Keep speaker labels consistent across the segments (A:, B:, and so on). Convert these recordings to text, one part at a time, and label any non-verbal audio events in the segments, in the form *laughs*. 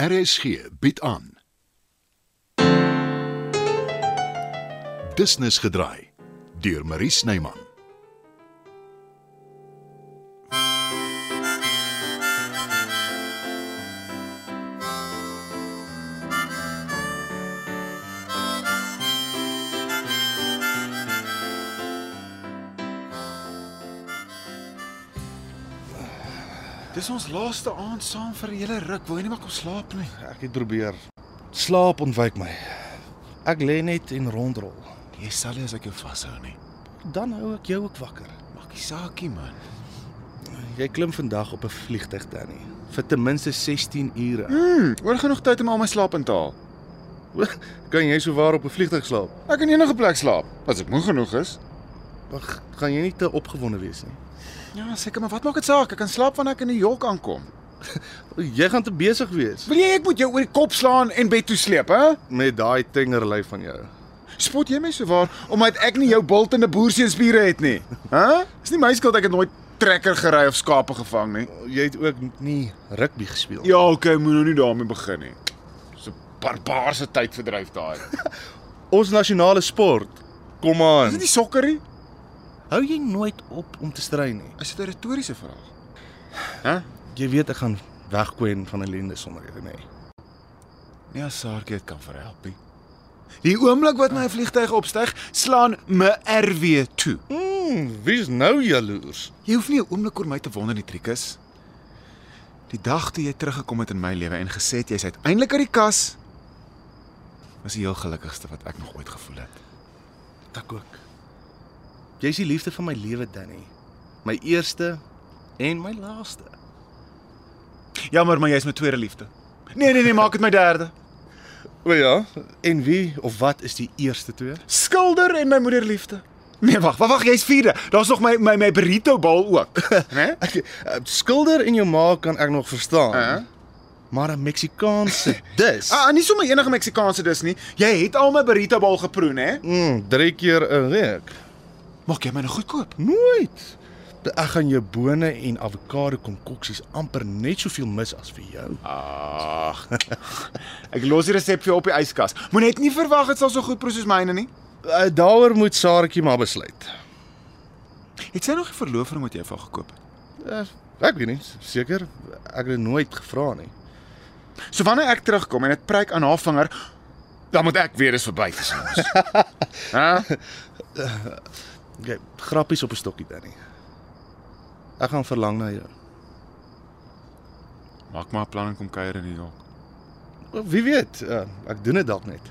A: RSG bied aan. Business gedraai deur Marie Snyman.
B: Dis ons laaste aand saam vir 'n hele ruk. Wil jy nie maar kom slaap nie?
C: Ek het probeer. Slaap ontwyk my. Ek lê net en rondrol.
B: Jy sal nie Nee, as ek jou vashou nie.
C: Dan hou ek jou ook wakker.
B: Maak die saakie man.
C: Jy klim vandag op 'n vliegtyg Danny vir ten minste 16 ure.
B: Mm, oor genoeg tyd om al my slaap in te haal.
C: kan jy souwaar op 'n vliegtyg slaap?
B: Ek kan enige plek slaap as ek moeg genoeg is.
C: Wag, gaan jy nie te opgewonde wees nie.
B: Ja, seker, maar wat maak dit saak? Ek kan slaap wanneer ek in New York aankom.
C: Jy gaan te besig wees
B: Wil jy ek moet jou oor die kop slaan en bed toe sleep, hè?
C: met daai tengerlyf van jou.
B: Spot jy my so waar omdat ek nie jou bultende boerseespiere het nie? Hæ? Dis nie my skuld ek het nooit trekker gery of skape gevang nie.
C: Jy het ook nie rugby gespeel.
B: Ja, okay, moet nou nie daarmee begin nie. Dis 'n barbaarse tyd verdryf daai.
C: Ons nasionale sport. Kom
B: Is dit
C: aan.
B: nie sokkerie?
C: Hou jy nooit op om te stry nie.
B: Is dit 'n retoriese vraag?
C: Jy weet ek gaan wegkwyn van ellende sonder jou, nê.
B: Nee, as Saartjie dit kan verhelp nie. Die oomblik wat my vliegtyg opstyg, slaan my RW toe.
C: Mm, wie's nou jaloers?
B: Jy hoef nie 'n oomblik oor my te wonder nie, Trikus. Die dag toe jy teruggekom het in my lewe en gesê het jy's uiteindelik uit die kas, was die heel gelukkigste wat ek nog ooit gevoel het.
C: Ek ook. Jy's die liefde van my lewe, Danny. My eerste en my laaste.
B: Jammer, maar jy's my tweede liefde. Nee, nee, nee, maak dit my derde.
C: O ja, en wie of wat is die eerste twee?
B: Skilder en my moederliefde. Nee, wag, wag, wag, jy's vierde. Daar's nog my my my burrito bal ook, *laughs* né?
C: Ek eh, skilder en jou ma kan ek nog verstaan.
B: Uh-huh.
C: Maar 'n *laughs* Meksikaanse dis.
B: Ah, nie sommer enige Meksikaanse dis nie. Jy het al my burrito bal geproe, né?
C: Mm, drie keer 'n week.
B: Maak jy my nou goedkoop?
C: Nooit. Ek gaan jou bone en avokado konkoksies amper net soveel mis as vir jou.
B: Ag. ek los die resep vir jou op die yskas. Moet net nie verwag dit sal so goed proe soos myne nie.
C: Uh, Daaroor moet Saartjie maar besluit.
B: Het sy nog 'n verloofring wat jy vir haar gekoop het?
C: Uh, ek weet nie, seker ek het dit nooit gevra nie.
B: So wanneer ek terugkom en dit pryk aan haar vinger, dan moet ek weer eens verby *laughs* vir ons. Hæ?
C: Jy grappies op 'n stokkie Danny. Ek gaan verlang na jou.
B: Maak maar 'n plan en kom kuier in New York.
C: O, Wie weet, uh, ek doen dit dalk net.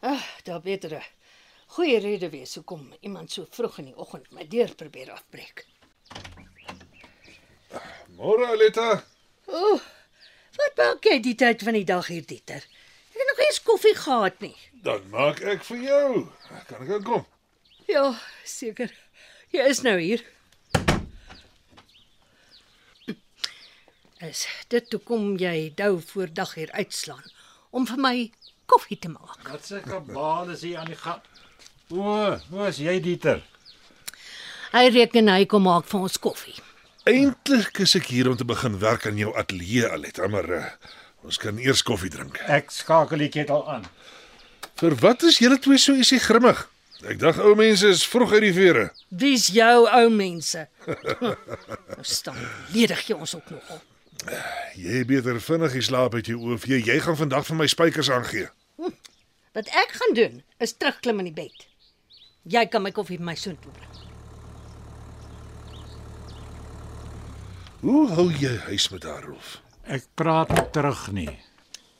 D: Ag, daar beter. 'n Goeie rede wees hoekom iemand so vroeg in die oggend my deur probeer afbreek.
B: Môre, Aletta.
D: Ooh. Wat maak jy die tyd van die dag hier, Dieter? Ek het nog eers koffie gehad nie.
B: Dan maak ek vir jou. Kan ek kom?
D: Ja, seker. Jy is nou hier. Is dit toe kom jy dou voor dag hier uitslaan om vir my koffie te maak?
E: Wat se kabaal is hier aan die gang? O, hoe is jy Dieter?
D: Hy reken hy kom maak vir ons koffie.
F: Eintlik is ek hier om te begin werk aan jou ateljee Aletta, maar uh, ons kan eers koffie drink.
E: Ek skakel ek dit al aan.
F: Vir wat is julle twee so isie grimmig? Ek dag ou mense is vroeg uit die vere.
D: Dis jou ou *laughs* mense. nou staan ledig jy ons ook nogal.
F: Jy beter vinnig die slaap uit jou oë of jy jy gaan vandag vir my spykers aangee.
D: Wat ek gaan doen is terugklim in die bed. Jy kan my koffie vir my soontoe bring.
F: Hoe hou jy huis met haar Rolf?
E: Ek praat nie terug nie.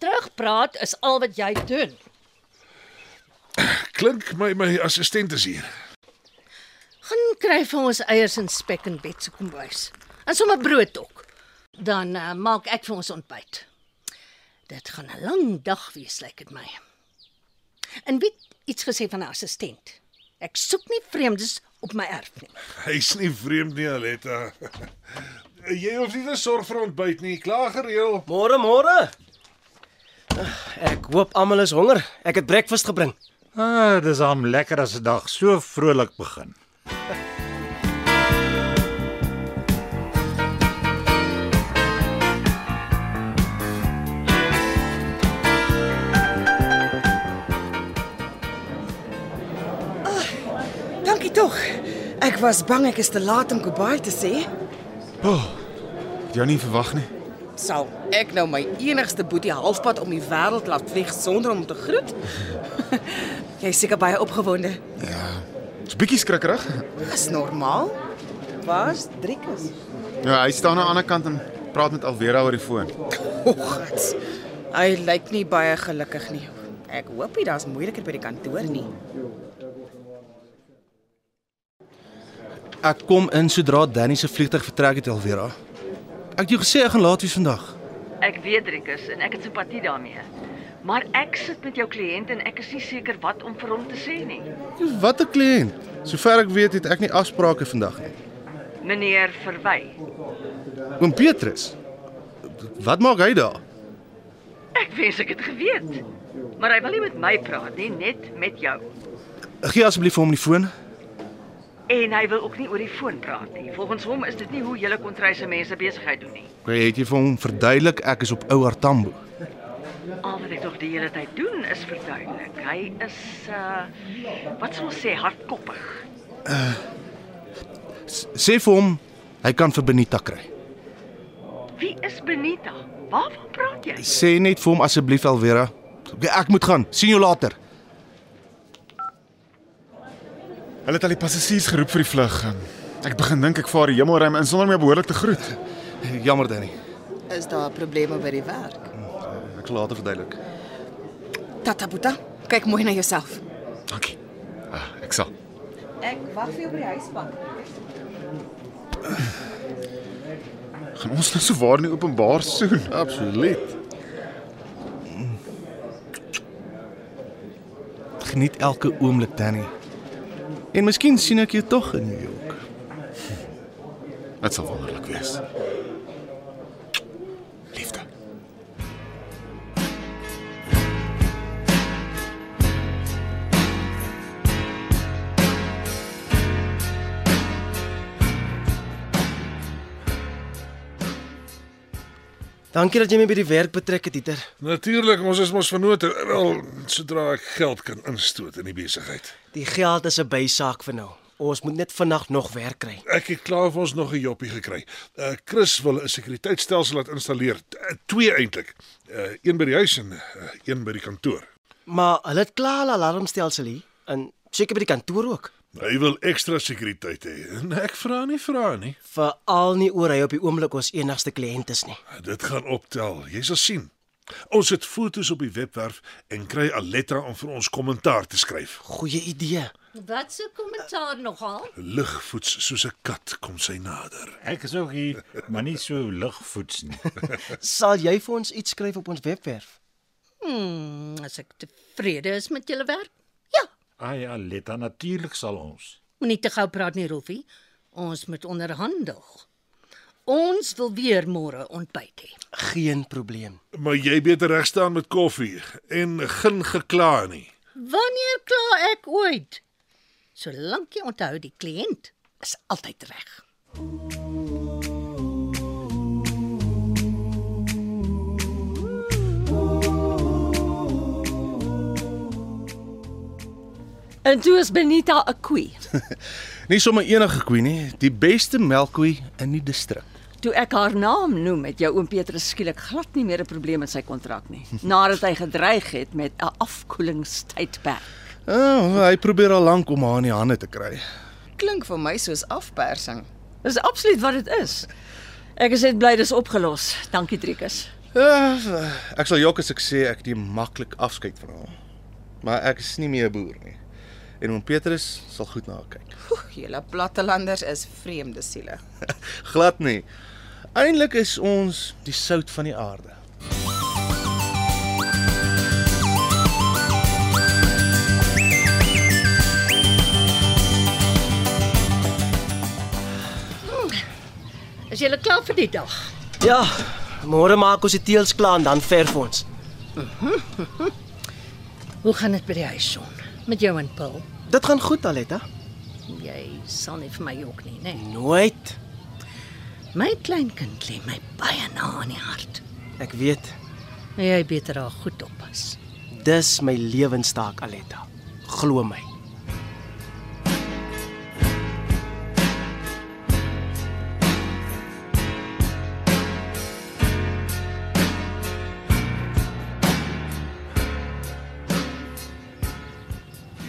D: Terugpraat is al wat jy doen.
F: Klink my my assistent is hier.
D: Gaan kry vir ons eiers en spek in bed se kombuis. En sommer brood ook. Dan uh, maak ek vir ons ontbyt. Dit gaan 'n lang dag wees, lyk dit my. En wie het iets gesê van 'n assistent? Ek soek nie vreemdes op my erf nie.
F: Hy's nie vreemd nie, Aletta. *laughs* Jy hoef nie te sorg vir ontbyt nie, klaar gereël.
G: Môre, môre. Ek hoop almal is honger. Ek het breakfast gebring.
E: Ah, dis hom lekker as 'n dag so vrolik begin.
H: Dankie tog. Ek was bang ek is te laat om goodbye te sê.
B: Het jou nie verwag nie.
H: Sal ek nou my enigste boetie halfpad om die wêreld laat vlieg sonder om te groet? *laughs* Jy is seker baie opgewonde.
B: Dis bietjie skrikkerig.
H: Dis normaal. Was Driekus.
B: Ja, hy staan aan die ander kant en praat met Alvera oor die foon.
H: Oggats. Hy lyk nie baie gelukkig nie. Ek hoop nie daar's moeilikheid by die kantoor nie.
C: Ek kom in sodra Danny se vliegtyg vertrek het Elvira. Ek het jou gesê ek gaan laat wees vandag.
I: Ek weet Rikus en ek het simpatie daarmee. Maar ek sit met jou kliënt en ek is nie seker wat om vir hom te sê nie.
C: Wat 'n kliënt. Sover ek weet het ek nie afsprake vandag nie.
I: Meneer Verwy,
C: Oom Petrus. Wat maak hy daar?
I: ek wens ek het geweet. Maar hy wil nie met my praat nie, net met jou.
C: Gee asseblief vir hom die foon.
I: En hy wil ook nie oor die foon praat nie. Volgens hom is dit nie hoe julle kontryse mense besigheid doen nie.
C: Jy het jy vir hom verduidelik ek is op ouer Tambo.
I: Al wat ek tog die hele tyd doen is verduidelik. Hy is uh wat sou ons sê hardkoppig.
C: S- Sê vir hom hy kan vir Benita kry.
I: Wie is Benita? Waarvan praat jy?
C: Sê net vir hom asseblief Elvira. Ek moet gaan. Sien jou later.
B: Hulle het al die passasiers geroep vir die vlug. Ek begin dink ek vaar die hemelruim in sonder my behoorlik te groet.
C: Jammer Danny.
H: Is daar probleme by die werk?
C: Ek sal later verduidelik.
H: Tata Buta, kyk mooi na jouself.
B: Dankie. Ah, ek sal.
H: Ek wag vir jou by die huisbank.
B: Gaan ons nou so waar in die openbaar soen?
C: Absoluut. Geniet elke oomblik, Danny. En miskien sien ek jou tog in New York.
B: Dit sal wonderlik wees. Liefde.
G: Dankie dat jy my by die werk betrek het, Dieter.
F: Natuurlik, ons is mos vennote. Wel, sodra ek geld kan instoot in die besigheid.
G: Die geld is 'n bysaak vir nou. Ons moet net vandag nog werk kry.
F: Ek het klaar vir ons nog 'n joppie gekry. Uh Chris wil 'n sekuriteitstelsel laat installeer. T- Uh, twee eintlik. Uh een by die huis en uh, een by die kantoor.
G: Maar hulle het klaar 'n alarmstelsel hier en seker by die kantoor ook.
F: Hy wil ekstra sekuriteit hê. En ek vra nie vra nie.
G: Veral nie oor hy op die oomblik ons enigste kliënt is nie.
F: Ah, Dit gaan optel. Jy sal sien. Ons het fotos op die webwerf en kry Aletta om vir ons kommentaar te skryf.
G: Goeie idee.
D: Wat se kommentaar nogal?
F: Ligvoets soos 'n kat kom sy nader.
E: Ek is ook hier, maar nie so ligvoets nie. *laughs*
G: Sal jy vir ons iets skryf op ons webwerf?
D: Hmm, as ek tevrede is met julle werk. Ja,
E: Ai, Aletta, natuurlik sal ons.
D: Moenie te gou praat nie, Rolfie. Ons moet onderhandel. Ons wil weer môre ontbyt hê.
G: Geen probleem.
F: Maar jy beter reg staan met koffie en geen gekla nie.
D: Wanneer kla ek ooit? Solank jy onthou die kliënt is altyd reg.
J: En toe is Benita 'n koei.
C: Nie sommer enige koe nie, die beste melkkoe in die distrik.
J: Toe ek haar naam noem, het jou oom Petrus skielik glad nie meer 'n probleem met sy kontrak nie, nadat hy gedreig het met 'n afkoelingstydperk.
C: Ah, hy probeer al lank om haar in die hande te kry.
H: Klink vir my soos afpersing.
J: Dis absoluut wat dit is. Ek is net bly dis opgelos. Dankie Trikus.
C: Uh, ek sal jok as ek sê ek neem maklik afskeid van haar. Maar ek is nie meer 'n boer nie. En oom Petrus sal goed na haar kyk.
H: Oeg, julle plattelanders is vreemde siele.
C: Glad nie. Eindelik is ons die sout van die aarde.
D: Is jy klaar vir die dag?
G: Ja, môre maak ons die teels klaar en dan verf ons.
D: Hoe gaan dit by die huis son met jou en Paul?
G: Dit gaan goed, Aletta.
D: Jy sal nie vir my jok nie, né? Nee.
G: Nooit.
D: My kleinkind lê my baie na aan die hart.
G: Ek weet,
D: Jy beter haar goed oppas.
G: dis my lewenstaak, Aletta. Glo my.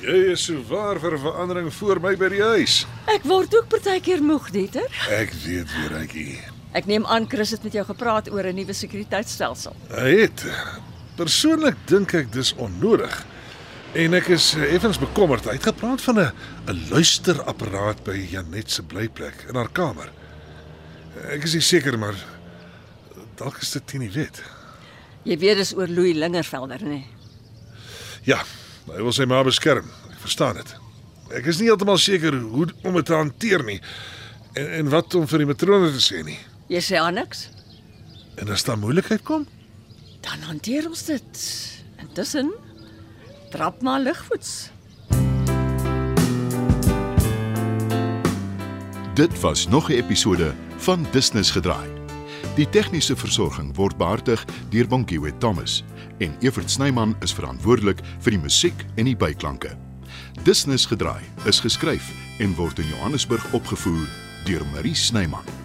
F: Jy is so waar vir 'n verandering voor my by die huis.
J: Ek word ook partykeer moeg, Dieter.
F: Ek weet weer uitjie.
J: Ek neem aan Chris het met jou gepraat oor 'n nuwe sekuriteitstelsel.
F: Hy het persoonlik dink ek dis onnodig. En ek is eh, effens bekommerd. Hy het gepraat van 'n 'n luisterapparaat by Janet se blyplek in haar kamer. Ek is nie seker maar dalk is dit nie wet.
J: Jy weet dis oor Louis Lingervelder, nê? Nee.
F: Ja, hy wil sy ma beskerm. Ek verstaan dit. Ek is nie heeltemal seker hoe om dit te hanteer nie en en wat om vir die matrone te sê nie.
J: Jy sê aan niks.
F: En as daar moeilikheid kom,
J: Dan hanteer ons dit. Intussen trap maar ligvoets.
A: Dit was nog 'n episode van Business gedraai. Die tegniese versorging word behartig deur Bonnie Witt Thomas en Evert Snyman is verantwoordelik vir die musiek en die byklanke. Business gedraai is geskryf en word in Johannesburg opgevoer deur Marie Snyman.